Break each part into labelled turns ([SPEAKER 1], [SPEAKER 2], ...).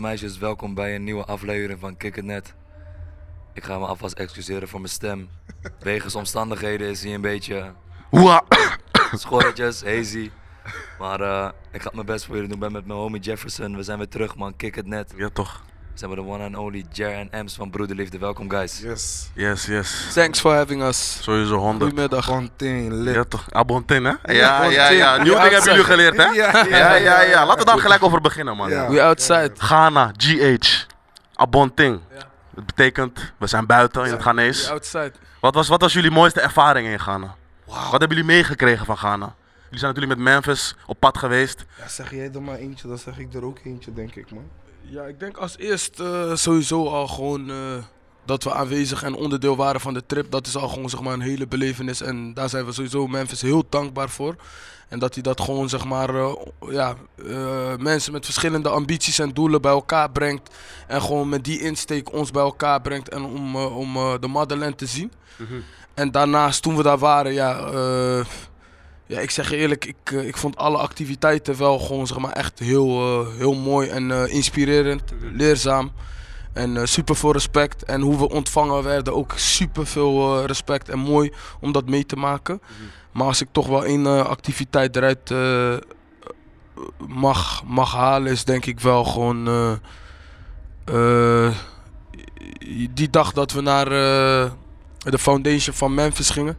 [SPEAKER 1] meisjes, welkom bij een nieuwe aflevering van Kick It Net. Ik ga me alvast excuseren voor mijn stem. Wegens omstandigheden is hij een beetje schorretjes, hazy. Maar eh, ik ga mijn best voor jullie doen. Ik ben met mijn homie Jefferson. We zijn weer terug, man. Kick It Net.
[SPEAKER 2] Ja toch.
[SPEAKER 1] We zijn bij de one and only Jer en Ems van Broederliefde. Welkom, guys.
[SPEAKER 3] Yes.
[SPEAKER 2] Yes, yes.
[SPEAKER 4] Thanks for having us.
[SPEAKER 2] Sowieso 100.
[SPEAKER 4] Goedemiddag.
[SPEAKER 3] Fontaine, lit.
[SPEAKER 2] Ja toch. Abontin hè? Ja, ja,
[SPEAKER 4] Abontin.
[SPEAKER 2] ja. Nieuw
[SPEAKER 4] Ja,
[SPEAKER 2] ding hebben jullie
[SPEAKER 4] zeg.
[SPEAKER 2] geleerd hè? Ja, ja, ja. Laten we daar gelijk over beginnen man.
[SPEAKER 3] Ja.
[SPEAKER 4] We outside.
[SPEAKER 2] Ghana, GH. Abonting. Dat betekent, we zijn buiten in het
[SPEAKER 4] We
[SPEAKER 2] Ghanese.
[SPEAKER 4] outside.
[SPEAKER 2] Wat was, wat was jullie mooiste ervaring in Ghana? Wat hebben jullie meegekregen van Ghana? Jullie zijn natuurlijk met Memphis op pad geweest.
[SPEAKER 3] Ja, zeg jij er maar eentje, dan zeg ik er ook eentje, denk ik, man.
[SPEAKER 4] Ja, ik denk als eerst eh, sowieso al gewoon eh, dat we aanwezig en onderdeel waren van de trip. Dat is al gewoon zeg maar, een hele belevenis. En daar zijn we sowieso Memphis heel dankbaar voor. En dat hij dat gewoon, zeg maar, eh, ja, eh, mensen met verschillende ambities en doelen bij elkaar brengt. En gewoon met die insteek ons bij elkaar brengt en om, eh, om eh, de Madeleine te zien. En daarnaast, toen we daar waren, ja, eh, ja ik zeg je eerlijk, ik, eh, ik vond alle activiteiten wel gewoon zeg maar, echt heel, eh, heel mooi en eh, inspirerend, leerzaam. En eh, super veel respect. En hoe we ontvangen werden, ook super veel eh, respect en mooi om dat mee te maken. Maar als ik toch wel één eh, activiteit eruit eh, mag, mag halen, is denk ik wel gewoon. eh, eh, die dag dat we naar eh, de foundation van Memphis gingen.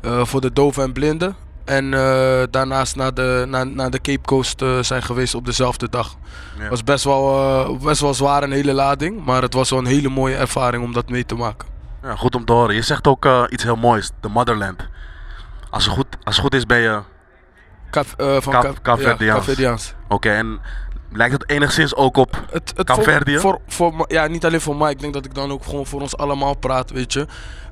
[SPEAKER 4] eh, voor de doven en blinden. En eh, daarnaast naar de, naar, naar de Cape Coast eh, zijn geweest op dezelfde dag.
[SPEAKER 2] Ja.
[SPEAKER 4] was best wel, eh, best wel zwaar een hele lading. Maar het was wel een hele mooie ervaring om dat mee te maken.
[SPEAKER 2] Ja, goed om te horen. Je zegt ook eh, iets heel moois, de motherland. Als het goed, als het goed is ben je...
[SPEAKER 4] Kaf, eh, van
[SPEAKER 2] Ka-
[SPEAKER 4] Ka-
[SPEAKER 2] Kaapverdiaans.
[SPEAKER 4] ja, Kaapverdiaans.
[SPEAKER 2] Oké, en lijkt het enigszins ook op...
[SPEAKER 4] Het, het
[SPEAKER 2] Kaapverdië?
[SPEAKER 4] Voor, voor, voor me- ja, niet alleen voor mij. Ik denk dat ik dan ook gewoon voor ons allemaal praat, weet je.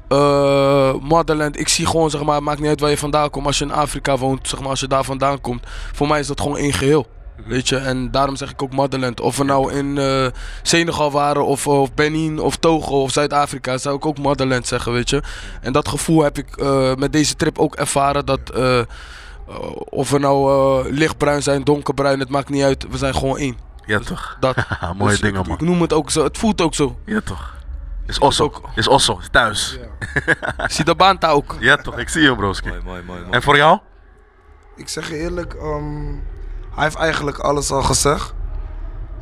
[SPEAKER 4] Eh motherland, ik zie gewoon, zeg maar, het maakt niet uit waar je vandaan komt. Als je in Afrika woont, zeg maar, als je daar vandaan komt. Voor mij is dat gewoon één geheel. Weet je, en daarom zeg ik ook motherland. Of we nou in eh, Senegal waren, of, of Benin, of Togo, of Zuid-Afrika, zou ik ook motherland zeggen, weet je. En dat gevoel heb ik eh, met deze trip ook ervaren, dat... eh, eh, of we nou eh, lichtbruin zijn, donkerbruin, het maakt niet uit. We zijn gewoon één.
[SPEAKER 2] Ja toch.
[SPEAKER 4] Dat,
[SPEAKER 2] Haha, Ah, mooie
[SPEAKER 4] dus
[SPEAKER 2] dingen
[SPEAKER 4] ik,
[SPEAKER 2] man.
[SPEAKER 4] ik noem het ook zo, het voelt ook zo.
[SPEAKER 2] Ja toch. Is Osso.
[SPEAKER 4] ook-
[SPEAKER 2] Is Osso. Is thuis. Ja,
[SPEAKER 3] Ja.
[SPEAKER 4] Sidabanta ook.
[SPEAKER 2] toch. Ik zie hem broski.
[SPEAKER 1] Mooi, mooi, mooi. mooi.
[SPEAKER 2] En voor jou?
[SPEAKER 3] Ik zeg je eerlijk, ehm, hij heeft eigenlijk alles al gezegd.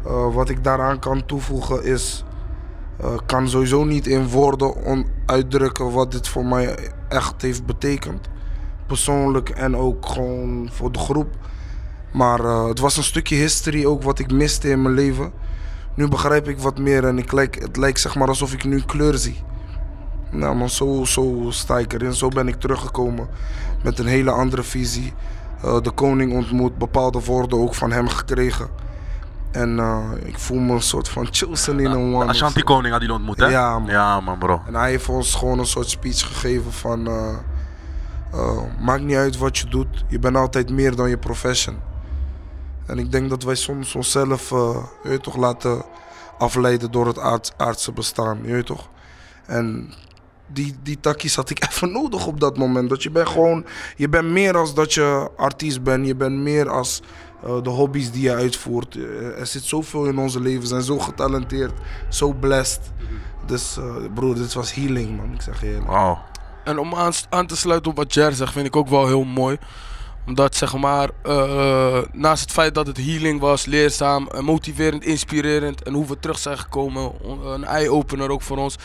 [SPEAKER 3] Eh, wat ik daaraan kan toevoegen is, eh kan sowieso niet in woorden on- uitdrukken wat dit voor mij echt heeft betekend. Persoonlijk en ook gewoon voor de groep. Maar eh, het was een stukje history ook wat ik miste in mijn leven. Nu begrijp ik wat meer en ik lijk, het lijkt zeg maar alsof ik nu kleur zie. Nou man, zo, zo sta ik erin. Zo ben ik teruggekomen met een hele andere visie. Eh, de koning ontmoet, bepaalde woorden ook van hem gekregen. En eh, ik voel me een soort van chosen in een one.
[SPEAKER 2] Ashanti koning had jullie ontmoet hè?
[SPEAKER 3] Ja, man.
[SPEAKER 2] Ja man bro.
[SPEAKER 3] En hij heeft ons gewoon een soort speech gegeven van... eh, eh, maakt niet uit wat je doet, je bent altijd meer dan je profession. En ik denk dat wij soms onszelf eh, je weet toch, laten afleiden door het aard, aardse bestaan. Je weet toch? En die, die takkies had ik even nodig op dat moment. Dat je bent gewoon... Je bent meer als dat je artiest bent. Je bent meer als eh, de hobby's die je uitvoert. Eh, er zit zoveel in onze leven. We zijn zo getalenteerd. Zo blessed. Dus eh, broer, dit was healing man. Ik zeg je
[SPEAKER 1] Ah.
[SPEAKER 3] eerlijk.
[SPEAKER 2] Wow.
[SPEAKER 4] En om aan, aan te sluiten op wat Jer zegt, vind ik ook wel heel mooi. Omdat zeg maar, eh, naast het feit dat het healing was, leerzaam, eh, motiverend, inspirerend en hoe we terug zijn gekomen, on- een eye-opener ook voor ons,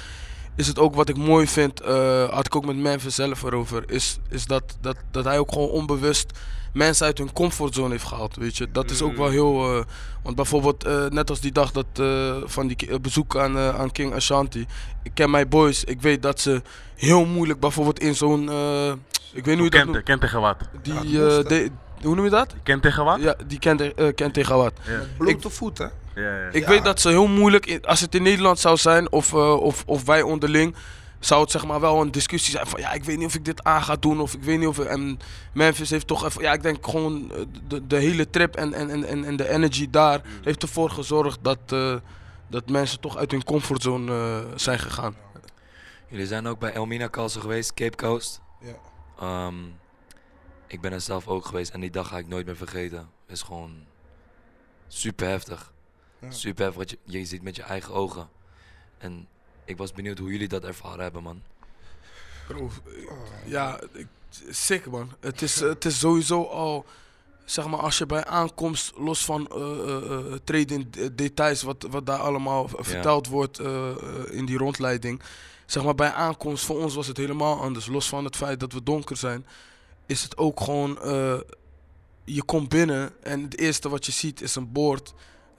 [SPEAKER 4] is het ook wat ik mooi vind, eh, had ik ook met Memphis zelf erover, is, is dat, dat, dat hij ook gewoon onbewust mensen uit hun comfortzone heeft gehaald, weet je. Dat is ook wel heel, eh, want bijvoorbeeld eh, net als die dag dat, eh, van die ki- eh, bezoek aan, eh, aan King Ashanti, ik ken mijn boys, ik weet dat ze heel moeilijk bijvoorbeeld in zo'n, eh, ik weet niet hoe je dat
[SPEAKER 2] Kent,
[SPEAKER 4] noemt,
[SPEAKER 2] kent tegen wat?
[SPEAKER 4] die,
[SPEAKER 3] Ja,
[SPEAKER 4] eh,
[SPEAKER 3] moest, hè?
[SPEAKER 4] de- hoe noem je dat?
[SPEAKER 2] Kent tegen wat?
[SPEAKER 4] Ja, die kent, eh, kent tegen wat.
[SPEAKER 3] Blote voet hè?
[SPEAKER 2] Ja, ja.
[SPEAKER 4] Ik weet dat ze heel moeilijk, in- als het in Nederland zou zijn of, eh, of, of wij onderling, zou het zeg maar wel een discussie zijn van ja, ik weet niet of ik dit aan ga doen of ik weet niet of... En Memphis heeft toch even, ja ik denk gewoon eh, de, de hele trip en, en, en- en, en de energy daar heeft ervoor gezorgd dat, eh, dat mensen toch uit hun comfortzone eh, zijn gegaan.
[SPEAKER 1] Jullie zijn ook bij Elmina Kalsen geweest, Cape Coast.
[SPEAKER 3] Ja.
[SPEAKER 1] Ehm, ik ben er zelf ook geweest en die dag ga ik nooit meer vergeten. Is gewoon super heftig. Super heftig wat je, je ziet met je eigen ogen. En ik was benieuwd hoe jullie dat ervaren hebben, man.
[SPEAKER 4] Bro, ik- ja, ik, sick man. Het is, het is sowieso al, zeg maar, als je bij aankomst, los van eh eh, eh, trade-in de- details, wat, wat daar allemaal v- verteld wordt eh, eh, in die rondleiding. Zeg maar, bij aankomst voor ons was het helemaal anders. Los van het feit dat we donker zijn, is het ook gewoon, eh, je komt binnen en het eerste wat je ziet is een bord.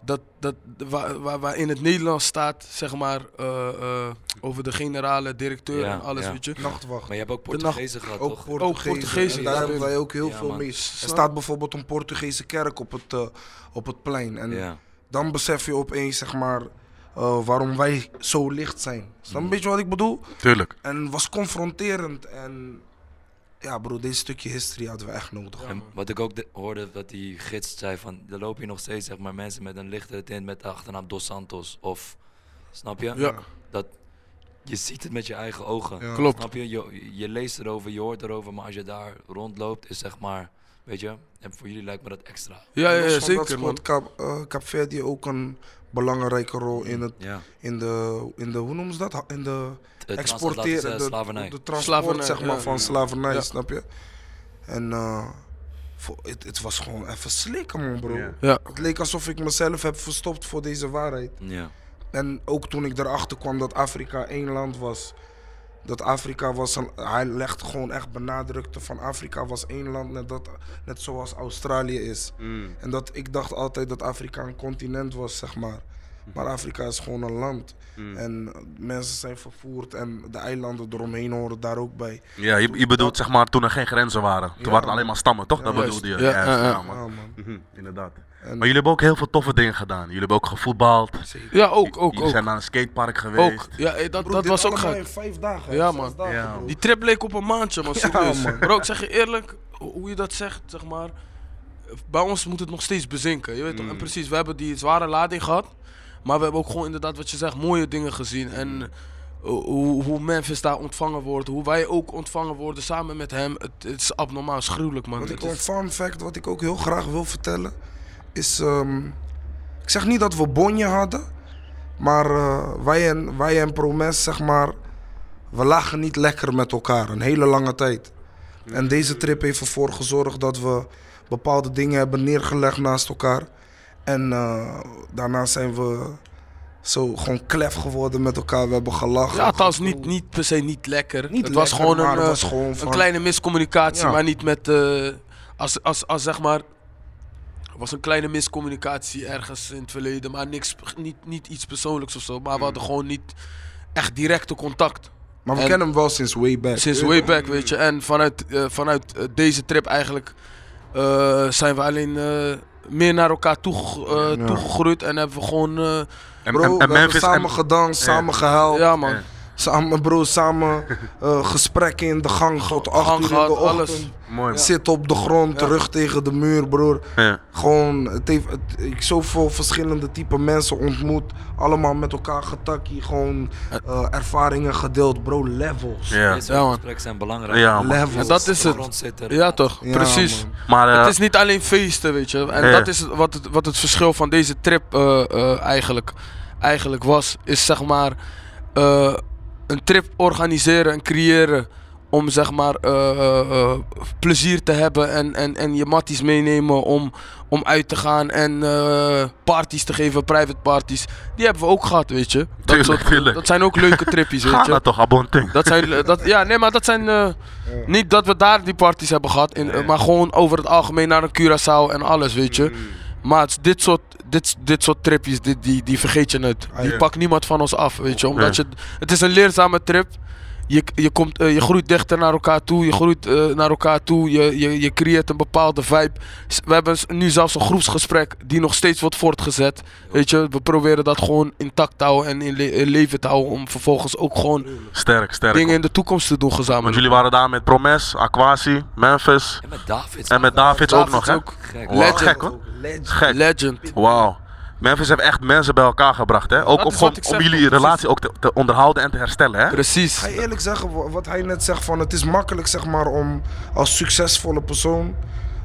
[SPEAKER 4] Dat, dat, waar, waar, waar in het Nederlands staat, zeg maar, eh, eh, over de generale directeur
[SPEAKER 1] Ja,
[SPEAKER 4] en alles,
[SPEAKER 1] ja.
[SPEAKER 4] weet je.
[SPEAKER 3] Nachtwacht.
[SPEAKER 1] Maar je hebt ook
[SPEAKER 4] nacht-
[SPEAKER 1] Portugezen gehad,
[SPEAKER 3] Ook
[SPEAKER 1] toch?
[SPEAKER 3] Portugezen.
[SPEAKER 4] Ook Portugezen,
[SPEAKER 3] En daar
[SPEAKER 4] ja.
[SPEAKER 3] hebben wij ook heel
[SPEAKER 1] Ja,
[SPEAKER 3] veel
[SPEAKER 1] man.
[SPEAKER 3] mee. Er
[SPEAKER 4] Snap-
[SPEAKER 3] staat bijvoorbeeld een Portugese kerk op het, eh, op het plein. En
[SPEAKER 1] Ja.
[SPEAKER 3] dan besef je opeens, zeg maar, eh, waarom wij zo licht zijn. Is
[SPEAKER 4] Hmm.
[SPEAKER 3] dat een beetje wat ik bedoel?
[SPEAKER 2] Tuurlijk.
[SPEAKER 3] En was confronterend. En ja, bro, dit stukje history hadden we echt nodig.
[SPEAKER 1] En wat ik ook de- hoorde, dat die gids zei van, er lopen hier nog steeds zeg maar, mensen met een lichtere tint met de achternaam Dos Santos. Of, snap je?
[SPEAKER 4] Ja.
[SPEAKER 1] Dat, je ziet het met je eigen ogen.
[SPEAKER 3] Ja.
[SPEAKER 4] Klopt.
[SPEAKER 1] Snap je? je? Je leest erover, je hoort erover, maar als je daar rondloopt, is zeg maar, weet je, en voor jullie lijkt me dat extra.
[SPEAKER 4] Ja, ja,
[SPEAKER 3] Los
[SPEAKER 4] ja,
[SPEAKER 3] van dat
[SPEAKER 4] zeker man.
[SPEAKER 3] speelt Cap, eh, Capverdië ook een belangrijke rol in, het,
[SPEAKER 1] Ja.
[SPEAKER 3] in, de, in de, hoe noemen ze dat? In de
[SPEAKER 1] Het
[SPEAKER 3] exporteren, de,
[SPEAKER 1] transatlantische slavernij.
[SPEAKER 3] de transport
[SPEAKER 4] eh, Slavernij,
[SPEAKER 3] zeg maar,
[SPEAKER 4] ja.
[SPEAKER 3] van slavernij,
[SPEAKER 4] Ja.
[SPEAKER 3] snap je? En eh, voor- het het was gewoon even slikken, man, bro.
[SPEAKER 2] Ja.
[SPEAKER 4] Ja.
[SPEAKER 3] Het leek alsof ik mezelf heb verstopt voor deze waarheid.
[SPEAKER 1] Ja.
[SPEAKER 3] En ook toen ik erachter kwam dat Afrika één land was. Dat Afrika was, een, hij legde gewoon echt benadrukte van Afrika was één land, net, dat, net zoals Australië is. En dat ik dacht altijd dat Afrika een continent was, zeg maar. Maar Afrika is gewoon een land.
[SPEAKER 2] Mm.
[SPEAKER 3] En mensen zijn vervoerd en de eilanden eromheen horen daar ook bij.
[SPEAKER 2] Ja, je, je bedoelt zeg maar toen er geen grenzen waren. Toen
[SPEAKER 3] Ja,
[SPEAKER 2] waren het
[SPEAKER 3] man.
[SPEAKER 2] alleen maar stammen, toch? dat
[SPEAKER 4] juist.
[SPEAKER 2] bedoelde je.
[SPEAKER 4] Ja, ja, ja.
[SPEAKER 2] man.
[SPEAKER 3] Ja, man.
[SPEAKER 2] Mhm, Inderdaad.
[SPEAKER 3] En-
[SPEAKER 2] Maar jullie hebben ook heel veel toffe dingen gedaan. Jullie hebben ook gevoetbald.
[SPEAKER 4] Ja, ook, ook,
[SPEAKER 2] jullie zijn
[SPEAKER 4] ook.
[SPEAKER 2] naar een skatepark geweest.
[SPEAKER 4] ook. Ja, eh, dat,
[SPEAKER 3] Bro,
[SPEAKER 4] dat
[SPEAKER 3] dit
[SPEAKER 4] was ook
[SPEAKER 3] allemaal
[SPEAKER 4] gek.
[SPEAKER 3] in vijf dagen.
[SPEAKER 4] Ja,
[SPEAKER 3] zes
[SPEAKER 4] man.
[SPEAKER 3] dagen,
[SPEAKER 2] Ja,
[SPEAKER 3] bro.
[SPEAKER 4] Die trip leek op een maandje, man. Serieus.
[SPEAKER 3] man.
[SPEAKER 4] Bro, ik zeg je eerlijk, ho- hoe je dat zegt, zeg maar. Bij ons moet het nog steeds bezinken. Je weet
[SPEAKER 2] Mm.
[SPEAKER 4] toch? En precies, we hebben die zware lading gehad. Maar we hebben ook gewoon inderdaad, wat je zegt, mooie dingen gezien. En eh, hoe, hoe Memphis daar ontvangen wordt. Hoe wij ook ontvangen worden samen met hem. Het, het is abnormaal, het is gruwelijk, man.
[SPEAKER 3] Wat ik,
[SPEAKER 4] Het
[SPEAKER 3] een
[SPEAKER 4] is-
[SPEAKER 3] fun fact wat ik ook heel graag wil vertellen is. ehm, ik zeg niet dat we bonje hadden, maar eh, wij, en, wij en Promes, zeg maar. We lagen niet lekker met elkaar een hele lange tijd. En deze trip heeft ervoor gezorgd dat we bepaalde dingen hebben neergelegd naast elkaar. En eh, daarna zijn we zo gewoon klef geworden met elkaar. We hebben gelachen.
[SPEAKER 4] Ja, trouwens, niet, niet per se niet lekker.
[SPEAKER 3] Niet
[SPEAKER 4] het was
[SPEAKER 3] lekker,
[SPEAKER 4] gewoon
[SPEAKER 3] maar
[SPEAKER 4] een,
[SPEAKER 3] het
[SPEAKER 4] eh,
[SPEAKER 3] was gewoon
[SPEAKER 4] een
[SPEAKER 3] van-
[SPEAKER 4] kleine miscommunicatie,
[SPEAKER 3] Ja.
[SPEAKER 4] maar niet met. eh, als, als, als zeg maar. Er was een kleine miscommunicatie ergens in het verleden, maar niks, niet, niet iets persoonlijks of zo. Maar
[SPEAKER 3] Mm.
[SPEAKER 4] we hadden gewoon niet echt directe contact.
[SPEAKER 3] Maar we
[SPEAKER 4] En-
[SPEAKER 3] kennen hem wel sinds way back.
[SPEAKER 4] Sinds
[SPEAKER 3] Weet
[SPEAKER 4] way
[SPEAKER 3] je
[SPEAKER 4] back,
[SPEAKER 3] mm.
[SPEAKER 4] weet je. En vanuit, eh, vanuit eh, deze trip eigenlijk eh, zijn we alleen eh, meer naar elkaar toege, eh,
[SPEAKER 3] Ja.
[SPEAKER 4] toegegroeid. En hebben we gewoon... eh,
[SPEAKER 2] En,
[SPEAKER 3] Bro,
[SPEAKER 2] en- en
[SPEAKER 3] we hebben
[SPEAKER 2] Memphis
[SPEAKER 3] samen
[SPEAKER 2] en-
[SPEAKER 3] gedanst, samen gehuild.
[SPEAKER 4] ja man,
[SPEAKER 2] eh,
[SPEAKER 3] Samen, bro, samen eh, gesprekken in de gang tot acht
[SPEAKER 4] gang
[SPEAKER 3] uur in
[SPEAKER 4] gehad,
[SPEAKER 3] de ochtend.
[SPEAKER 4] alles.
[SPEAKER 2] Mooi. man.
[SPEAKER 3] Zitten op de grond, terug tegen de muur, broer.
[SPEAKER 2] Ja.
[SPEAKER 3] Gewoon, het heeft, het, ik zoveel verschillende type mensen ontmoet. Allemaal met elkaar getakkie, gewoon eh, ervaringen gedeeld, bro. Levels.
[SPEAKER 2] Ja.
[SPEAKER 1] Dit
[SPEAKER 4] Ja,
[SPEAKER 1] soort
[SPEAKER 4] man.
[SPEAKER 1] gesprekken zijn belangrijk.
[SPEAKER 2] Ja, man.
[SPEAKER 3] Levels.
[SPEAKER 4] En dat is het.
[SPEAKER 1] Grondzitten.
[SPEAKER 4] Ja toch,
[SPEAKER 3] Ja,
[SPEAKER 4] precies.
[SPEAKER 3] man.
[SPEAKER 2] Maar eh,
[SPEAKER 4] Het is niet alleen feesten, weet je. En
[SPEAKER 2] Ja.
[SPEAKER 4] dat is het- wat het, wat het verschil van deze trip eh, eh, eigenlijk, eigenlijk was. Is zeg maar eh, een trip organiseren en creëren. Om zeg maar eh, eh, eh, plezier te hebben en, en, en je matties meenemen om, om uit te gaan en eh, parties te geven, private parties. Die hebben we ook gehad, weet je. Dat,
[SPEAKER 2] Tuurlijk,
[SPEAKER 4] soort-
[SPEAKER 2] tuurlijk.
[SPEAKER 4] dat zijn ook leuke tripjes, weet
[SPEAKER 2] ga
[SPEAKER 4] je.
[SPEAKER 2] nou toch, abonting.
[SPEAKER 4] Dat zijn, eh, dat, ja, nee, maar dat zijn. eh, Niet dat we daar die parties hebben gehad, in, eh, maar gewoon over het algemeen naar een Curaçao en alles, weet je. Maar het is dit soort, dit, dit soort tripjes, die, die, die vergeet je net. Die pakt niemand van ons af, weet je. Omdat je het is een leerzame trip. Je, je, komt, eh, je groeit dichter naar elkaar toe, je groeit eh, naar elkaar toe, je, je, je creëert een bepaalde vibe. S- We hebben s- nu zelfs een groepsgesprek die nog steeds wordt voortgezet. Weet je, we proberen dat gewoon intact te houden en in, le- in leven te houden om vervolgens ook gewoon
[SPEAKER 2] Sterk, sterk.
[SPEAKER 4] dingen in de toekomst te doen
[SPEAKER 2] Want
[SPEAKER 4] gezamenlijk.
[SPEAKER 2] jullie waren daar met Promes, Aquasi, Memphis
[SPEAKER 1] En met David.
[SPEAKER 2] en met Davids ook
[SPEAKER 4] Davids
[SPEAKER 2] nog, hè?
[SPEAKER 4] ook.
[SPEAKER 1] Gek.
[SPEAKER 2] Wow,
[SPEAKER 4] Legend.
[SPEAKER 2] Gek, hoor.
[SPEAKER 3] Legends.
[SPEAKER 2] Gek.
[SPEAKER 4] Legend.
[SPEAKER 2] Wauw. Memphis heeft echt mensen bij elkaar gebracht, hè? Ook
[SPEAKER 4] Dat
[SPEAKER 2] om,
[SPEAKER 4] is
[SPEAKER 2] gewoon-
[SPEAKER 4] wat ik
[SPEAKER 2] om
[SPEAKER 4] zeg,
[SPEAKER 2] jullie
[SPEAKER 4] precies.
[SPEAKER 2] relatie ook te, te onderhouden en te herstellen, hè?
[SPEAKER 3] Ga
[SPEAKER 4] Precies.
[SPEAKER 3] je eerlijk zeggen, wa- wat hij net zegt van het is makkelijk zeg maar om als succesvolle persoon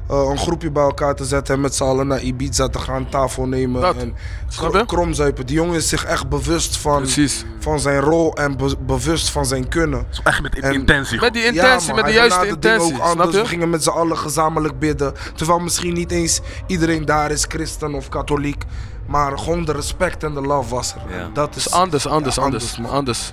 [SPEAKER 3] eh, een groepje bij elkaar te zetten en met z'n allen naar Ibiza te gaan, tafel nemen
[SPEAKER 4] Dat.
[SPEAKER 3] en
[SPEAKER 4] Snap je?
[SPEAKER 3] kromzuipen. Die jongen is zich echt bewust van,
[SPEAKER 4] Precies.
[SPEAKER 3] van zijn rol en be- bewust van zijn kunnen.
[SPEAKER 2] Zo echt met
[SPEAKER 3] En-
[SPEAKER 2] intentie.
[SPEAKER 4] Met die
[SPEAKER 3] Ja,
[SPEAKER 4] intentie,
[SPEAKER 3] man,
[SPEAKER 4] met de
[SPEAKER 3] hij
[SPEAKER 4] juiste
[SPEAKER 3] benadert dingen
[SPEAKER 4] intentie.
[SPEAKER 3] ook anders.
[SPEAKER 4] Snap je?
[SPEAKER 3] We gingen met z'n allen gezamenlijk bidden. Terwijl misschien niet eens iedereen daar is christen of katholiek. Maar gewoon de respect en de love was er.
[SPEAKER 1] Ja.
[SPEAKER 3] En Dat is
[SPEAKER 4] is anders, anders,
[SPEAKER 3] Ja,
[SPEAKER 4] anders,
[SPEAKER 3] man.
[SPEAKER 4] anders,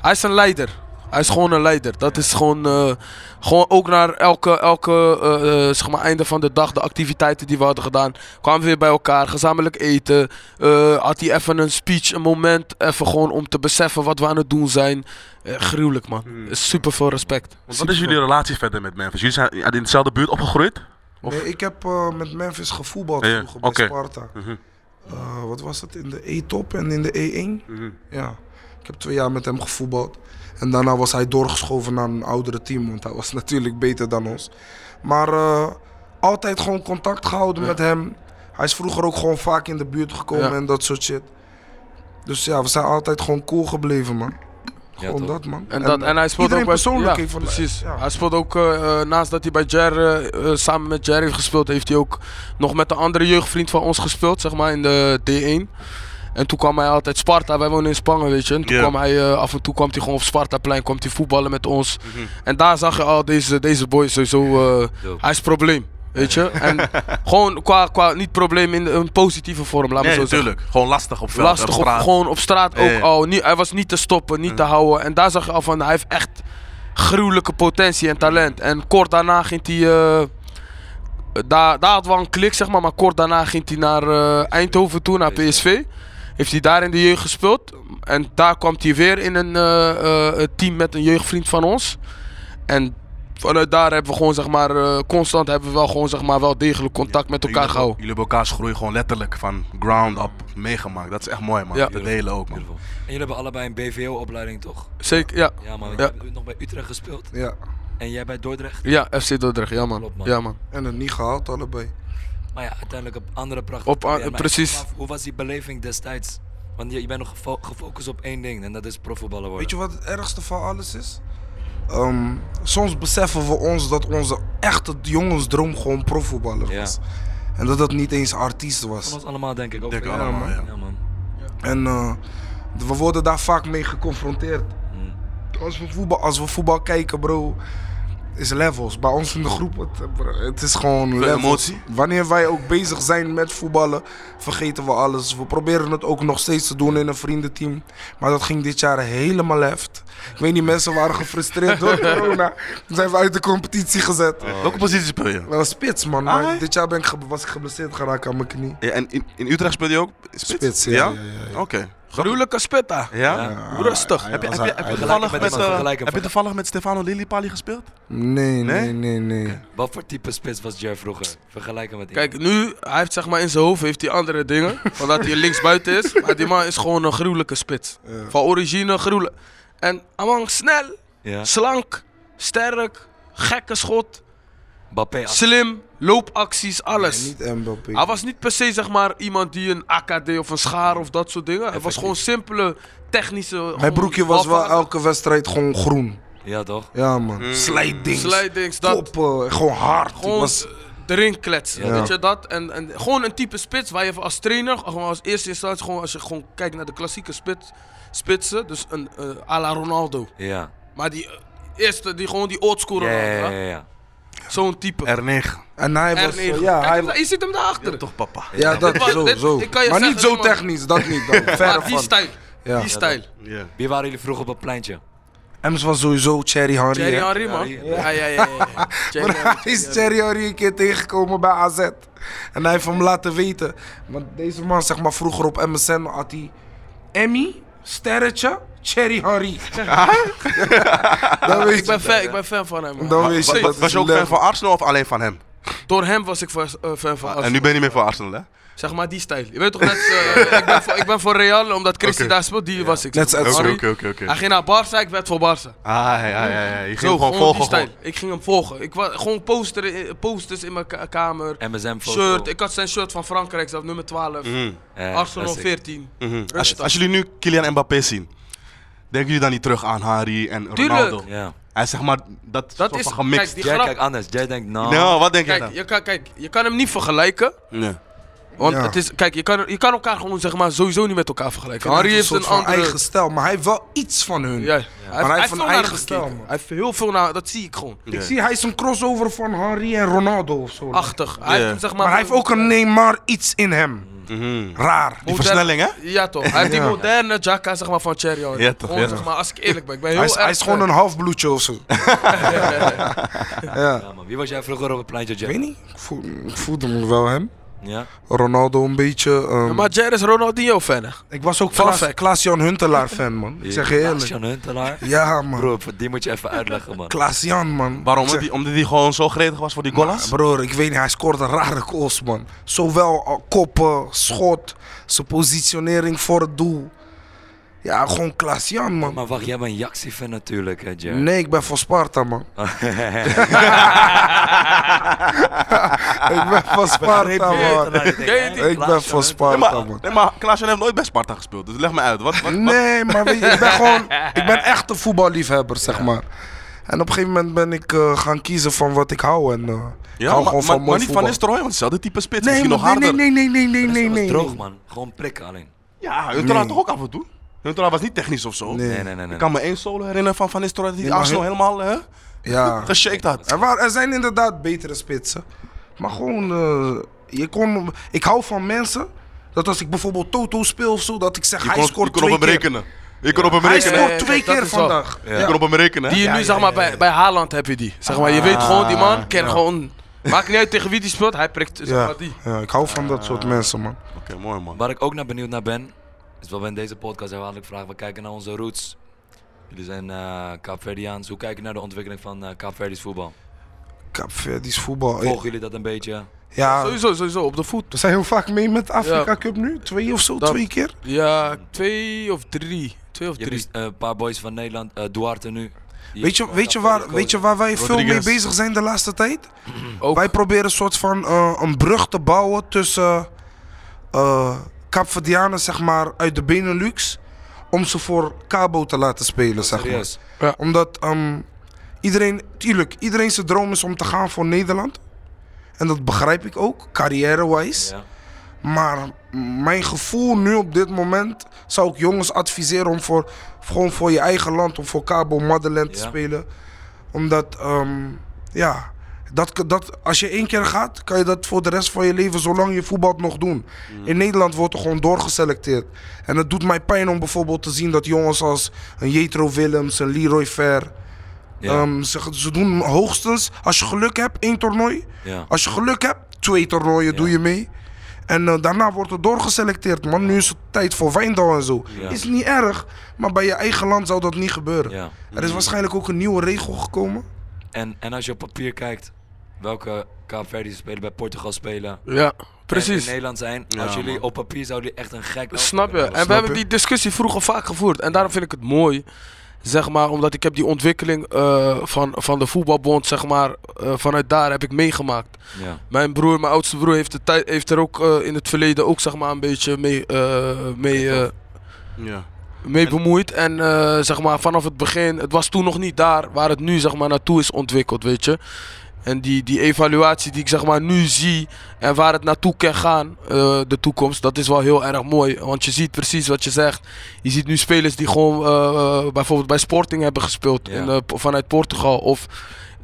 [SPEAKER 4] Hij is een leider. Hij is gewoon een leider. Dat is gewoon, eh, gewoon ook naar elke, elke eh, eh, zeg maar einde van de dag, de activiteiten die we hadden gedaan. Kwamen we weer bij elkaar, gezamenlijk eten. Eh, had hij even een speech, een moment, even gewoon om te beseffen wat we aan het doen zijn. Eh, gruwelijk man.
[SPEAKER 3] Hmm.
[SPEAKER 4] Super veel respect.
[SPEAKER 2] Want wat is jullie relatie verder met Memphis? Jullie zijn in dezelfde buurt opgegroeid? Of-
[SPEAKER 3] Nee, ik heb eh, met Memphis gevoetbald
[SPEAKER 2] Ja, ja.
[SPEAKER 3] vroeger bij
[SPEAKER 2] Oké.
[SPEAKER 3] Sparta.
[SPEAKER 2] Mhm.
[SPEAKER 3] Eh, wat was het? In de E-top en in de E1?
[SPEAKER 2] Mhm.
[SPEAKER 3] Ja. Ik heb twee jaar met hem gevoetbald. En daarna was hij doorgeschoven naar een oudere team, want hij was natuurlijk beter dan ons. Maar eh, altijd gewoon contact gehouden met hem. Hij is vroeger ook gewoon vaak in de buurt gekomen
[SPEAKER 4] Ja.
[SPEAKER 3] en dat soort shit. Dus ja, we zijn altijd gewoon cool gebleven, man. Gewoon
[SPEAKER 1] toch.
[SPEAKER 3] dat, man.
[SPEAKER 4] En, dat, en hij speelt ook
[SPEAKER 3] iedereen
[SPEAKER 4] bij
[SPEAKER 3] persoonlijk
[SPEAKER 4] ja,
[SPEAKER 3] heeft van-
[SPEAKER 4] precies.
[SPEAKER 3] ja.
[SPEAKER 4] Hij speelt ook eh, eh, naast dat hij bij Jer eh, eh, samen met Jer heeft gespeeld, heeft hij ook nog met een andere jeugdvriend van ons gespeeld, zeg maar in de D1. En toen kwam hij altijd Sparta, wij wonen in Spangen, weet je. En toen
[SPEAKER 2] Ja.
[SPEAKER 4] kwam hij eh, af en toe kwam hij gewoon op Spartaplein, kwam hij voetballen met ons.
[SPEAKER 3] Mhm.
[SPEAKER 4] En daar zag je al deze, deze boy is sowieso, eh,
[SPEAKER 1] Dope.
[SPEAKER 4] hij is probleem, weet je. En gewoon qua, qua niet probleem in een positieve vorm, laat me
[SPEAKER 5] Nee,
[SPEAKER 4] zo zeggen.
[SPEAKER 5] natuurlijk. Gewoon lastig op veld.
[SPEAKER 4] Lastig,
[SPEAKER 5] en
[SPEAKER 4] op,
[SPEAKER 5] straat.
[SPEAKER 4] gewoon op straat
[SPEAKER 5] Ja,
[SPEAKER 4] ook
[SPEAKER 5] ja.
[SPEAKER 4] al. Niet, hij was niet te stoppen, niet te houden. En daar zag je al van, hij heeft echt gruwelijke potentie en talent. En kort daarna ging hij... eh, daar, daar had wel een klik, zeg maar. Maar kort daarna ging hij naar eh, Eindhoven toe, naar PSV. Heeft hij daar in de jeugd gespeeld. En daar kwam hij weer in een eh, eh, team met een jeugdvriend van ons. En vanuit daar hebben we gewoon, zeg maar, eh, constant hebben we wel gewoon, zeg maar, wel degelijk contact met elkaar
[SPEAKER 5] jullie,
[SPEAKER 4] gehouden.
[SPEAKER 5] Jullie hebben elkaars groei gewoon letterlijk van ground up meegemaakt. Dat is echt mooi, man.
[SPEAKER 4] Ja.
[SPEAKER 5] De delen ook, man.
[SPEAKER 1] Beautiful. En jullie hebben allebei een BVO-opleiding, toch?
[SPEAKER 4] Zeker, ja.
[SPEAKER 1] Ja, man.
[SPEAKER 4] Ja.
[SPEAKER 1] Je hebt nog bij Utrecht gespeeld.
[SPEAKER 3] Ja,
[SPEAKER 1] En jij bij Dordrecht.
[SPEAKER 4] Ja, FC Dordrecht, ja man.
[SPEAKER 1] Klopt, man.
[SPEAKER 4] Ja man.
[SPEAKER 3] en het niet gehaald, allebei.
[SPEAKER 1] Maar ja, uiteindelijk op andere prachtige
[SPEAKER 4] Op a-
[SPEAKER 1] plekken. Maar ik
[SPEAKER 4] precies.
[SPEAKER 1] vroeg me af, Hoe was die beleving destijds? Want je, je bent nog gefo- gefocust op één ding en dat is profvoetballer worden.
[SPEAKER 3] Weet je wat het ergste van alles is? Ehm, soms beseffen we ons dat onze echte jongensdroom gewoon profvoetballer
[SPEAKER 1] Ja.
[SPEAKER 3] was. En dat dat niet eens artiest
[SPEAKER 1] Van
[SPEAKER 3] was.
[SPEAKER 1] ons allemaal, denk ik. Ook
[SPEAKER 5] Denk
[SPEAKER 1] voor
[SPEAKER 5] ik
[SPEAKER 1] jou.
[SPEAKER 5] allemaal, ja.
[SPEAKER 1] Ja, man.
[SPEAKER 3] En eh, we worden daar vaak mee geconfronteerd.
[SPEAKER 1] Mm.
[SPEAKER 3] Als we voetbal, als we voetbal kijken, bro, is levels. Bij ons in de groep, het, eh, bro, het is gewoon levels.
[SPEAKER 5] emotie.
[SPEAKER 3] Wanneer wij ook bezig zijn met voetballen, vergeten we alles. We proberen het ook nog steeds te doen in een vriendenteam. Maar dat ging dit jaar helemaal left. Ik weet niet, mensen waren gefrustreerd door corona. Toen zijn we uit de competitie gezet.
[SPEAKER 5] Welke positie speel je?
[SPEAKER 3] Wel spits, man.
[SPEAKER 5] Ah,
[SPEAKER 3] Maar
[SPEAKER 5] hè?
[SPEAKER 3] dit jaar ben ik, ge- was ik geblesseerd geraakt aan mijn knie.
[SPEAKER 5] Ja, en in, in Utrecht speel je ook spits?
[SPEAKER 3] Spits, ja, ja, ja,
[SPEAKER 5] Oké.
[SPEAKER 4] Gruwelijke spitta.
[SPEAKER 5] Ja? Rustig.
[SPEAKER 3] Ja,
[SPEAKER 5] heb je,
[SPEAKER 3] als
[SPEAKER 5] heb je,
[SPEAKER 3] hij-
[SPEAKER 5] heb je
[SPEAKER 1] Vergelijk hem
[SPEAKER 5] toevallig
[SPEAKER 1] met
[SPEAKER 5] met,
[SPEAKER 1] iemand,
[SPEAKER 5] eh,
[SPEAKER 1] vergelijk hem
[SPEAKER 5] heb je
[SPEAKER 1] van-
[SPEAKER 5] toevallig met Stefano Lillipali gespeeld?
[SPEAKER 3] Nee, nee,
[SPEAKER 5] Nee?
[SPEAKER 3] nee, nee.
[SPEAKER 1] Wat voor type spits was Jer vroeger? Vergelijk hem met iemand.
[SPEAKER 4] Kijk, nu, hij heeft zeg maar in zijn hoofd heeft hij andere dingen. Van dat hij linksbuiten is. Maar die man is gewoon een gruwelijke spits. Van origine gruwelijk. En Amang, snel,
[SPEAKER 1] Ja.
[SPEAKER 4] slank, sterk, gekke schot,
[SPEAKER 1] Mbappé. ah, als-
[SPEAKER 4] slim, loopacties, alles.
[SPEAKER 3] Niet Mbappé.
[SPEAKER 4] Hij was niet per se zeg maar iemand die een AKD of een schaar of dat soort dingen. Hij was
[SPEAKER 1] Effectief.
[SPEAKER 4] gewoon simpele technische... gewoon
[SPEAKER 3] Mijn broekje was wel
[SPEAKER 4] balvangend.
[SPEAKER 3] elke wedstrijd gewoon groen.
[SPEAKER 1] Ja, toch?
[SPEAKER 3] Ja, man. Slijdings.
[SPEAKER 4] Slijdings, Mm. dat.
[SPEAKER 3] Koppen, gewoon hard. Ik
[SPEAKER 4] Gewoon
[SPEAKER 3] was-
[SPEAKER 4] eh, erin kletsen,
[SPEAKER 3] Ja.
[SPEAKER 4] weet je dat? En, en gewoon een type spits waar je als trainer, gewoon als eerste instantie, gewoon als je gewoon kijkt naar de klassieke spits, spitsen, dus een eh à la Ronaldo.
[SPEAKER 1] Ja.
[SPEAKER 4] Maar die eh, eerste, die gewoon die oldschool
[SPEAKER 1] Ja,
[SPEAKER 4] Ronaldo,
[SPEAKER 1] ja, ja.
[SPEAKER 4] hè?
[SPEAKER 1] ja.
[SPEAKER 4] zo'n type.
[SPEAKER 5] R9.
[SPEAKER 3] En hij was... eh,
[SPEAKER 4] R9.
[SPEAKER 3] Ja,
[SPEAKER 4] Kijk,
[SPEAKER 3] hij
[SPEAKER 4] je ziet hem daarachter.
[SPEAKER 5] Toch papa.
[SPEAKER 3] Ja, dat
[SPEAKER 4] dit was-
[SPEAKER 3] zo,
[SPEAKER 4] dit-
[SPEAKER 3] zo.
[SPEAKER 4] ik kan je
[SPEAKER 3] maar niet
[SPEAKER 4] zeggen,
[SPEAKER 3] zo
[SPEAKER 4] man.
[SPEAKER 3] technisch, dat niet. Dan. Verre
[SPEAKER 4] Maar die
[SPEAKER 3] van.
[SPEAKER 4] stijl,
[SPEAKER 3] Ja.
[SPEAKER 4] die stijl.
[SPEAKER 5] Ja.
[SPEAKER 1] Wie waren jullie vroeger op het pleintje?
[SPEAKER 3] Ems was sowieso Cherry Harry.
[SPEAKER 4] Thierry
[SPEAKER 3] hè?
[SPEAKER 4] Henry, man.
[SPEAKER 1] Ja,
[SPEAKER 4] Ja, ja, ja. ja, ja. Thierry
[SPEAKER 3] Maar
[SPEAKER 4] Henry,
[SPEAKER 3] hij is
[SPEAKER 4] Thierry
[SPEAKER 3] Cherry Harry een keer tegengekomen bij AZ. En hij heeft hem laten weten. Want deze man, zeg maar, vroeger op MSN had hij... Emmy, sterretje, Cherry Harry. dat
[SPEAKER 4] Henry.
[SPEAKER 3] weet
[SPEAKER 4] Ik ben
[SPEAKER 3] je.
[SPEAKER 4] fan, ik ben fan van hem, man.
[SPEAKER 3] Dan weet je.
[SPEAKER 4] Wa-
[SPEAKER 3] dat is
[SPEAKER 5] Was je ook fan
[SPEAKER 3] leuk.
[SPEAKER 5] van Arsenal of alleen van hem?
[SPEAKER 4] Door hem was ik fan- eh, fan
[SPEAKER 3] Ah,
[SPEAKER 4] van
[SPEAKER 5] En
[SPEAKER 4] Arsenal.
[SPEAKER 5] nu ben je niet meer van Arsenal, hè?
[SPEAKER 4] Zeg maar die stijl. Je weet toch net, eh, ik, ben voor, ik ben voor Real, omdat Christi
[SPEAKER 5] Oké.
[SPEAKER 4] daar speelt, die was ik.
[SPEAKER 3] Net
[SPEAKER 4] zeg maar.
[SPEAKER 3] als
[SPEAKER 4] Henry,
[SPEAKER 3] Sorry.
[SPEAKER 5] Oké, oké, oké.
[SPEAKER 4] Hij
[SPEAKER 5] Ah,
[SPEAKER 4] ging naar Barça, ik werd voor Barça.
[SPEAKER 5] ja, ja, ja. ja. Je ging
[SPEAKER 4] Zo,
[SPEAKER 5] hem
[SPEAKER 4] gewoon
[SPEAKER 5] gewoon
[SPEAKER 4] die
[SPEAKER 5] volgen.
[SPEAKER 4] stijl.
[SPEAKER 5] gewoon.
[SPEAKER 4] Ik ging hem volgen. Ik was gewoon poster, in- posters in mijn ka- kamer.
[SPEAKER 1] MSM-foto.
[SPEAKER 4] Shirt, ik had zijn shirt van Frankrijk, zelf nummer 12.
[SPEAKER 5] Mm,
[SPEAKER 1] Eh,
[SPEAKER 4] Arsenal
[SPEAKER 1] classic.
[SPEAKER 4] 14.
[SPEAKER 5] mhm.
[SPEAKER 4] Rustig.
[SPEAKER 5] Als, als jullie nu Kylian Mbappé zien, Denken jullie dan niet terug aan Harry en Ronaldo?
[SPEAKER 4] Tuurlijk.
[SPEAKER 1] Ja.
[SPEAKER 5] Hij is zeg maar dat,
[SPEAKER 4] Dat
[SPEAKER 5] soort
[SPEAKER 4] is-
[SPEAKER 5] van gemixt.
[SPEAKER 4] kijk, Die
[SPEAKER 1] Jij
[SPEAKER 4] grap-
[SPEAKER 1] kijkt anders. Jij denkt, nou...
[SPEAKER 5] Nou, wat denk je
[SPEAKER 4] Kijk
[SPEAKER 5] dan?
[SPEAKER 4] je, kan, kijk, je kan hem niet vergelijken.
[SPEAKER 5] Nee.
[SPEAKER 4] Want
[SPEAKER 3] Ja.
[SPEAKER 4] het is, kijk, je kan, je kan elkaar gewoon zeg maar sowieso niet met elkaar vergelijken.
[SPEAKER 3] Hij
[SPEAKER 4] Harry heeft een
[SPEAKER 3] soort van
[SPEAKER 4] andere...
[SPEAKER 3] eigen stijl, maar hij heeft wel iets van hun.
[SPEAKER 4] Ja, Hij, heeft-
[SPEAKER 3] heeft
[SPEAKER 4] hij heeft
[SPEAKER 3] een
[SPEAKER 4] veel naar
[SPEAKER 3] eigen
[SPEAKER 4] hem
[SPEAKER 3] stijl,
[SPEAKER 4] gekeken.
[SPEAKER 3] man.
[SPEAKER 4] Hij heeft heel veel naar... Dat zie ik gewoon.
[SPEAKER 3] Ik zie, hij is een crossover van Henry en Ronaldo of zo.
[SPEAKER 4] Achtig. Hij
[SPEAKER 5] Ja.
[SPEAKER 4] heeft hem, zeg maar...
[SPEAKER 3] Maar hij heeft ook een Neymar iets in hem. Raar.
[SPEAKER 5] Mhm. Die versnelling, hè?
[SPEAKER 4] Ja toch, hij heeft die moderne Jacka zeg maar, van Thierry Henry.
[SPEAKER 5] Ja, toch,
[SPEAKER 4] Gewoon,
[SPEAKER 5] ja,
[SPEAKER 4] zeg
[SPEAKER 5] toch.
[SPEAKER 4] maar, als ik eerlijk ben, ik ben heel
[SPEAKER 3] Hij is, hij
[SPEAKER 4] erg,
[SPEAKER 3] is gewoon
[SPEAKER 4] eh,
[SPEAKER 3] een halfbloedje of zo. Ik
[SPEAKER 1] Ja, man. Wie was jij vroeger op het pleintje, Jack?
[SPEAKER 3] weet niet. Ik voel- Ik voelde me wel hem.
[SPEAKER 1] Ja?
[SPEAKER 3] Ronaldo een beetje. ehm,
[SPEAKER 4] Maar Jair is Ronaldinho fan. hè?
[SPEAKER 3] ik was ook
[SPEAKER 4] Fun
[SPEAKER 3] Klaas-
[SPEAKER 4] fact.
[SPEAKER 3] Klaas-Jan Huntelaar fan, man. Ik zeg je eerlijk.
[SPEAKER 1] Sean Huntelaar?
[SPEAKER 3] Ja, man.
[SPEAKER 1] Bro, voor die moet je even uitleggen, man.
[SPEAKER 3] Klaas-Jan, man.
[SPEAKER 5] Waarom?
[SPEAKER 3] Ik zeg-
[SPEAKER 5] Die- omdat hij gewoon zo gretig was voor die golas?
[SPEAKER 3] Broer, ik weet niet, hij scoorde rare goals, man. Zowel eh, koppen, schot, zijn positionering voor het doel. Ja, gewoon Klaas-Jan, man.
[SPEAKER 1] Maar wacht, jij bent Jaxi-fan natuurlijk, hè, Jack?
[SPEAKER 3] Nee, ik ben voor Sparta, man. ik ben voor Sparta, man. Ik ben voor
[SPEAKER 5] Nee,
[SPEAKER 3] Sparta,
[SPEAKER 5] maar,
[SPEAKER 3] man.
[SPEAKER 5] nee, maar Klaasje heeft nooit bij Sparta gespeeld. Dus leg me uit. Wat, wat,
[SPEAKER 3] Nee, maar weet je, ik ben gewoon... Ik ben echt een voetballiefhebber, zeg maar. En op een gegeven moment ben ik eh, gaan kiezen van wat ik hou. En eh, ik
[SPEAKER 5] Ja,
[SPEAKER 3] hou
[SPEAKER 5] maar,
[SPEAKER 3] gewoon
[SPEAKER 5] maar-
[SPEAKER 3] van
[SPEAKER 5] maar
[SPEAKER 3] mooi
[SPEAKER 5] niet
[SPEAKER 3] voetbal.
[SPEAKER 5] van Nistelrooy, want hetzelfde type spits.
[SPEAKER 3] nee,
[SPEAKER 5] misschien
[SPEAKER 3] man,
[SPEAKER 5] nog harder.
[SPEAKER 3] nee, nee, nee, nee, nee, nee, nee.
[SPEAKER 1] droog, man. Gewoon prikken alleen.
[SPEAKER 5] Ja, Huntelaar toch ook af en toe? Huntelaar was niet technisch of zo.
[SPEAKER 3] Nee.
[SPEAKER 1] Nee, nee, nee. nee.
[SPEAKER 5] Ik kan me één solo herinneren van Van Nistelrooy dat hij
[SPEAKER 3] Nee, maar
[SPEAKER 5] Arsenal
[SPEAKER 3] Hun-
[SPEAKER 5] helemaal hè,
[SPEAKER 3] Ja.
[SPEAKER 5] geshaked had.
[SPEAKER 3] Er, wa- er zijn inderdaad betere spitsen. Maar gewoon, eh, je kon, ik hou van mensen. Dat als ik bijvoorbeeld Toto speel of zo, dat ik zeg,
[SPEAKER 5] Je
[SPEAKER 3] hij
[SPEAKER 5] kon,
[SPEAKER 3] scoort
[SPEAKER 5] je kon op
[SPEAKER 3] twee
[SPEAKER 5] hem
[SPEAKER 3] keer.
[SPEAKER 5] rekenen. Je kon op hem
[SPEAKER 3] Hij
[SPEAKER 5] rekenen.
[SPEAKER 4] Ja, ja,
[SPEAKER 3] scoort
[SPEAKER 4] ja,
[SPEAKER 3] twee
[SPEAKER 4] dat
[SPEAKER 3] keer
[SPEAKER 4] is wel-
[SPEAKER 3] vandaag.
[SPEAKER 5] Je kon op hem rekenen.
[SPEAKER 4] Die je
[SPEAKER 5] hè?
[SPEAKER 4] nu, zeg maar, bij, bij Haaland heb je die. Zeg maar, je
[SPEAKER 3] Ah.
[SPEAKER 4] weet gewoon, die man kan gewoon... Maakt niet uit tegen wie die speelt, hij prikt zeg
[SPEAKER 3] Ja,
[SPEAKER 4] maar die.
[SPEAKER 3] ja, ik hou van dat soort
[SPEAKER 5] Ah.
[SPEAKER 3] mensen, man.
[SPEAKER 5] Oké, mooi man.
[SPEAKER 1] Waar ik ook naar benieuwd naar ben, is wat we in deze podcast herhaaldelijk vragen. We kijken naar onze roots. Jullie zijn eh Kaapverdiaans. Hoe kijken jullie naar de ontwikkeling van eh Kaapverdisch voetbal?
[SPEAKER 3] Oh, Kaapverdisch voetbal.
[SPEAKER 1] Volgen jullie dat een beetje?
[SPEAKER 3] Ja,
[SPEAKER 4] Sowieso, sowieso, op de voet.
[SPEAKER 3] we zijn heel vaak mee met de Afrika
[SPEAKER 4] Ja.
[SPEAKER 3] Cup nu. Twee of zo,
[SPEAKER 4] Dat-
[SPEAKER 3] twee keer.
[SPEAKER 4] Ja, twee of drie. Twee of
[SPEAKER 1] Je hebt
[SPEAKER 4] drie.
[SPEAKER 1] dus, eh, een paar boys van Nederland, eh Duarte nu. Die
[SPEAKER 3] Weet je,
[SPEAKER 1] is, eh,
[SPEAKER 3] weet je,
[SPEAKER 1] Kaapverdisch
[SPEAKER 3] waar, weet je
[SPEAKER 1] coach.
[SPEAKER 3] waar wij veel mee
[SPEAKER 5] Rodriguez.
[SPEAKER 3] bezig zijn de laatste tijd?
[SPEAKER 4] Ook.
[SPEAKER 3] Wij proberen een soort van eh, een brug te bouwen tussen eh Capverdianen, zeg maar, uit de Benelux. Om ze voor Cabo te laten spelen, zeg maar.
[SPEAKER 1] Serieus?
[SPEAKER 3] Omdat ehm, iedereen, tuurlijk, iedereen zijn droom is om te gaan voor Nederland. En dat begrijp ik ook, carrière-wise.
[SPEAKER 1] Ja.
[SPEAKER 3] Maar mijn gevoel nu op dit moment zou ik jongens adviseren om voor, gewoon voor je eigen land, om voor Cabo Madeleine te
[SPEAKER 1] Ja.
[SPEAKER 3] spelen. Omdat, ehm, ja, dat, dat, als je één keer gaat, kan je dat voor de rest van je leven, zolang je voetbalt, nog doen.
[SPEAKER 1] Mm.
[SPEAKER 3] In Nederland wordt er gewoon doorgeselecteerd. En het doet mij pijn om bijvoorbeeld te zien dat jongens als een Jetro Willems, een Leroy Ver,
[SPEAKER 1] Ja.
[SPEAKER 3] ehm, ze, ze doen hoogstens, als je geluk hebt, één toernooi.
[SPEAKER 1] ja.
[SPEAKER 3] Als je geluk hebt, twee toernooien doe je mee. En eh, daarna wordt het doorgeselecteerd, man. Nu is het tijd voor Wijndal en zo.
[SPEAKER 1] Ja.
[SPEAKER 3] Is niet erg, maar bij je eigen land zou dat niet gebeuren.
[SPEAKER 1] ja.
[SPEAKER 3] Er is waarschijnlijk ook een nieuwe regel gekomen.
[SPEAKER 1] En, en als je op papier kijkt, welke Kaapverdische spelen bij Portugal spelen...
[SPEAKER 4] Ja,
[SPEAKER 1] En in
[SPEAKER 4] precies.
[SPEAKER 1] Nederland zijn, als jullie op papier zouden jullie echt een gek...
[SPEAKER 4] Snap je? En
[SPEAKER 3] Snap
[SPEAKER 4] we hebben
[SPEAKER 3] je?
[SPEAKER 4] die discussie vroeger vaak gevoerd. En daarom vind ik het mooi. Zeg maar, omdat ik heb die ontwikkeling eh, van, van de voetbalbond, zeg maar, eh, vanuit daar heb ik meegemaakt.
[SPEAKER 1] Ja.
[SPEAKER 4] Mijn broer, mijn oudste broer, heeft, de tij- heeft er ook eh, in het verleden ook, zeg maar, een beetje mee, eh, mee, eh,
[SPEAKER 5] Ja.
[SPEAKER 4] mee bemoeid. En eh, zeg maar, vanaf het begin, het was toen nog niet daar waar het nu zeg maar, naartoe is ontwikkeld, weet je. En die, die evaluatie die ik zeg maar, nu zie en waar het naartoe kan gaan, eh, de toekomst, dat is wel heel erg mooi. Want je ziet precies wat je zegt. Je ziet nu spelers die gewoon eh, eh, bijvoorbeeld bij Sporting hebben gespeeld
[SPEAKER 1] Ja.
[SPEAKER 4] in, eh, po- vanuit Portugal. Of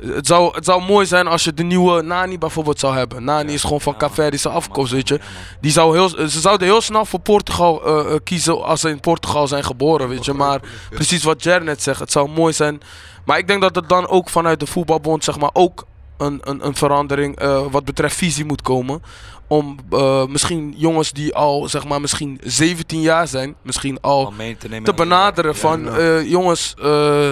[SPEAKER 4] eh, het zou, het zou mooi zijn als je de nieuwe Nani bijvoorbeeld zou hebben. Nani
[SPEAKER 1] Ja.
[SPEAKER 4] is gewoon van
[SPEAKER 1] Ja, man.
[SPEAKER 4] Caverdische afkomst, weet je.
[SPEAKER 1] Ja, man.
[SPEAKER 4] Die zou heel, eh, ze zouden heel snel voor Portugal eh, eh, kiezen als ze in Portugal zijn geboren, weet je. Maar precies wat Jer net zegt, het zou mooi zijn. Maar ik denk dat het dan ook vanuit de voetbalbond, zeg maar, ook een, een, een verandering eh, wat betreft visie moet komen. Om eh, misschien jongens die al, zeg maar, misschien 17 jaar zijn, misschien al
[SPEAKER 1] Om mee te nemen
[SPEAKER 4] te
[SPEAKER 1] aan die-
[SPEAKER 4] benaderen
[SPEAKER 1] Ja.
[SPEAKER 4] van eh, jongens. eh,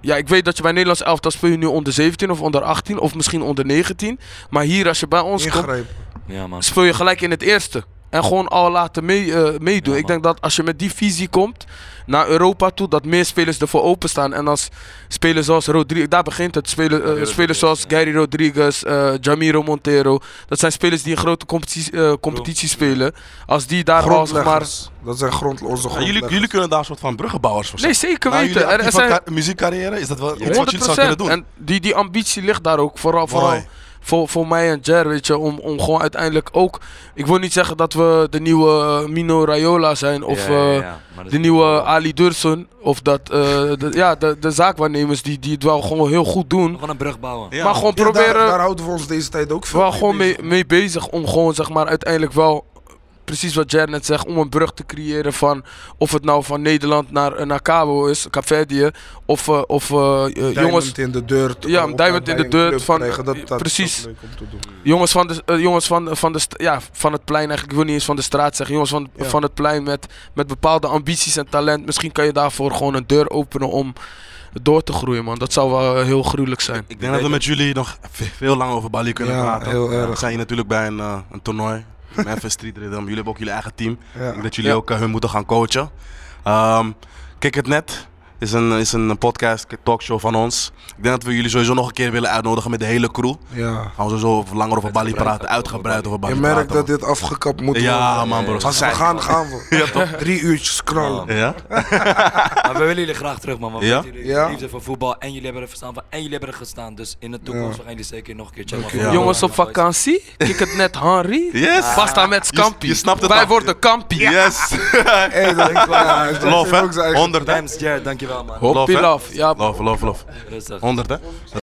[SPEAKER 4] ja, ik weet dat je bij Nederlands elftal speel je nu onder 17 of onder 18 of misschien onder 19. Maar hier als je bij ons komt,
[SPEAKER 3] Ingrijpen.
[SPEAKER 1] Ja, man.
[SPEAKER 4] speel je gelijk in het eerste. En gewoon al laten mee, eh, meedoen.
[SPEAKER 1] Ja,
[SPEAKER 4] ik denk dat als je met die visie komt naar Europa toe, dat meer spelers ervoor openstaan. En als spelers zoals Rodriguez, daar begint het. Spelen, eh,
[SPEAKER 1] Rodriguez,
[SPEAKER 4] spelers zoals
[SPEAKER 1] ja.
[SPEAKER 4] Gary Rodriguez, eh Jamiro Montero. Dat zijn spelers die in grote competitie, eh, competitie spelen. Als die daar al zeg maar.
[SPEAKER 3] Grondleggers. Dat zijn grond, onze
[SPEAKER 5] Maar jullie,
[SPEAKER 3] grondleggers.
[SPEAKER 5] jullie kunnen daar een soort van bruggenbouwers voor
[SPEAKER 4] Nee,
[SPEAKER 5] zijn.
[SPEAKER 4] zeker
[SPEAKER 5] Nou,
[SPEAKER 4] weten.
[SPEAKER 5] jullie
[SPEAKER 4] Er, er
[SPEAKER 5] actieve
[SPEAKER 4] zijn
[SPEAKER 5] ka- muziekcarrière, is dat wel iets wat jullie zou
[SPEAKER 4] 100%.
[SPEAKER 5] kunnen doen?
[SPEAKER 4] En die, die ambitie ligt daar ook. Vooral, vooral
[SPEAKER 5] Mooi.
[SPEAKER 4] voor, voor mij en Jer, weet je. Om, om gewoon uiteindelijk ook... Ik wil niet zeggen dat we de nieuwe eh, Mino Raiola zijn. Of
[SPEAKER 1] Ja, ja,
[SPEAKER 4] eh,
[SPEAKER 1] ja, maar dat is
[SPEAKER 4] de
[SPEAKER 1] niet
[SPEAKER 4] nieuwe
[SPEAKER 1] wel-
[SPEAKER 4] Ali Dursun. Of dat... eh, de, ja, de, de zaakwaarnemers die, die het wel gewoon heel goed doen.
[SPEAKER 1] Gewoon een brug bouwen.
[SPEAKER 5] Ja.
[SPEAKER 4] Maar gewoon
[SPEAKER 3] Ja,
[SPEAKER 4] proberen...
[SPEAKER 3] Daar, daar houden we ons deze tijd ook veel
[SPEAKER 4] wel gewoon mee,
[SPEAKER 3] bezig.
[SPEAKER 4] mee bezig om gewoon zeg maar uiteindelijk wel precies wat Jer net zegt om een brug te creëren van of het nou van Nederland naar eh, naar Cabo is, Caverdië of eh, of eh, eh,
[SPEAKER 3] Diamond
[SPEAKER 4] jongens
[SPEAKER 3] in de dirt.
[SPEAKER 4] Ja,
[SPEAKER 3] om
[SPEAKER 4] diamond in
[SPEAKER 3] bij
[SPEAKER 4] de
[SPEAKER 3] een
[SPEAKER 4] dirt
[SPEAKER 3] club
[SPEAKER 4] van-
[SPEAKER 3] krijgen, dat- dat is
[SPEAKER 4] precies.
[SPEAKER 3] ook leuk om te doen.
[SPEAKER 4] jongens van de eh, jongens van van de st- ja van het plein eigenlijk ik wil niet eens van de straat zeggen jongens van
[SPEAKER 3] Ja.
[SPEAKER 4] van het plein met met bepaalde ambities en talent misschien kan je daarvoor gewoon een deur openen om door te groeien man dat zou wel eh, heel gruwelijk zijn
[SPEAKER 5] Ik denk dat we met jullie nog ve- veel lang over Bali kunnen
[SPEAKER 3] Ja,
[SPEAKER 5] praten.
[SPEAKER 3] heel erg.
[SPEAKER 5] We zijn hier natuurlijk bij een, eh, een toernooi, Memphis Street Rhythm. Jullie hebben ook jullie eigen team. Ik denk
[SPEAKER 3] Ja.
[SPEAKER 5] dat jullie
[SPEAKER 4] Ja.
[SPEAKER 5] ook eh, hun moeten gaan coachen. Ehm Kick het Net is een, is een podcast, talkshow van ons. Ik denk dat we jullie sowieso nog een keer willen uitnodigen met de hele crew.
[SPEAKER 3] ja.
[SPEAKER 5] Gaan we sowieso langer over Bali
[SPEAKER 1] Uitgebreid
[SPEAKER 5] praten, uitgebreid over Bali
[SPEAKER 3] Je
[SPEAKER 5] praten.
[SPEAKER 3] merkt dat
[SPEAKER 5] man.
[SPEAKER 3] dit afgekapt moet
[SPEAKER 5] Ja,
[SPEAKER 3] worden.
[SPEAKER 5] man, bro.
[SPEAKER 3] Als we gaan, gaan we. Drie uurtjes knallen.
[SPEAKER 1] Ja.
[SPEAKER 5] Ja?
[SPEAKER 1] Maar we willen jullie graag terug, man. Want
[SPEAKER 5] Ja?
[SPEAKER 1] met jullie
[SPEAKER 3] Ja.
[SPEAKER 1] liefde voor voetbal en jullie hebben er verstaan van en jullie hebben er gestaan. Dus in de toekomst
[SPEAKER 3] Ja.
[SPEAKER 1] we gaan jullie zeker nog een keer checken.
[SPEAKER 3] Dank
[SPEAKER 1] man.
[SPEAKER 3] je.
[SPEAKER 1] Voor
[SPEAKER 4] jongens op
[SPEAKER 1] voetbal, man, boys.
[SPEAKER 4] vakantie kijk het net Henry
[SPEAKER 5] Yes!
[SPEAKER 4] pasta met
[SPEAKER 5] Je-
[SPEAKER 4] Scampi
[SPEAKER 5] je snapt het
[SPEAKER 4] wij
[SPEAKER 5] al.
[SPEAKER 4] worden Campi
[SPEAKER 5] Yes!
[SPEAKER 3] Hey, dat is waar. Dat
[SPEAKER 5] Love,
[SPEAKER 3] is ook zijn
[SPEAKER 5] hè?
[SPEAKER 3] eigen-
[SPEAKER 5] 100, hè?
[SPEAKER 1] Thanks, Jared. Dankjewel, man.
[SPEAKER 4] Hoppie
[SPEAKER 5] hè?
[SPEAKER 4] love, ja.
[SPEAKER 5] Love, love, love.
[SPEAKER 1] Rustig.
[SPEAKER 5] 100, hè?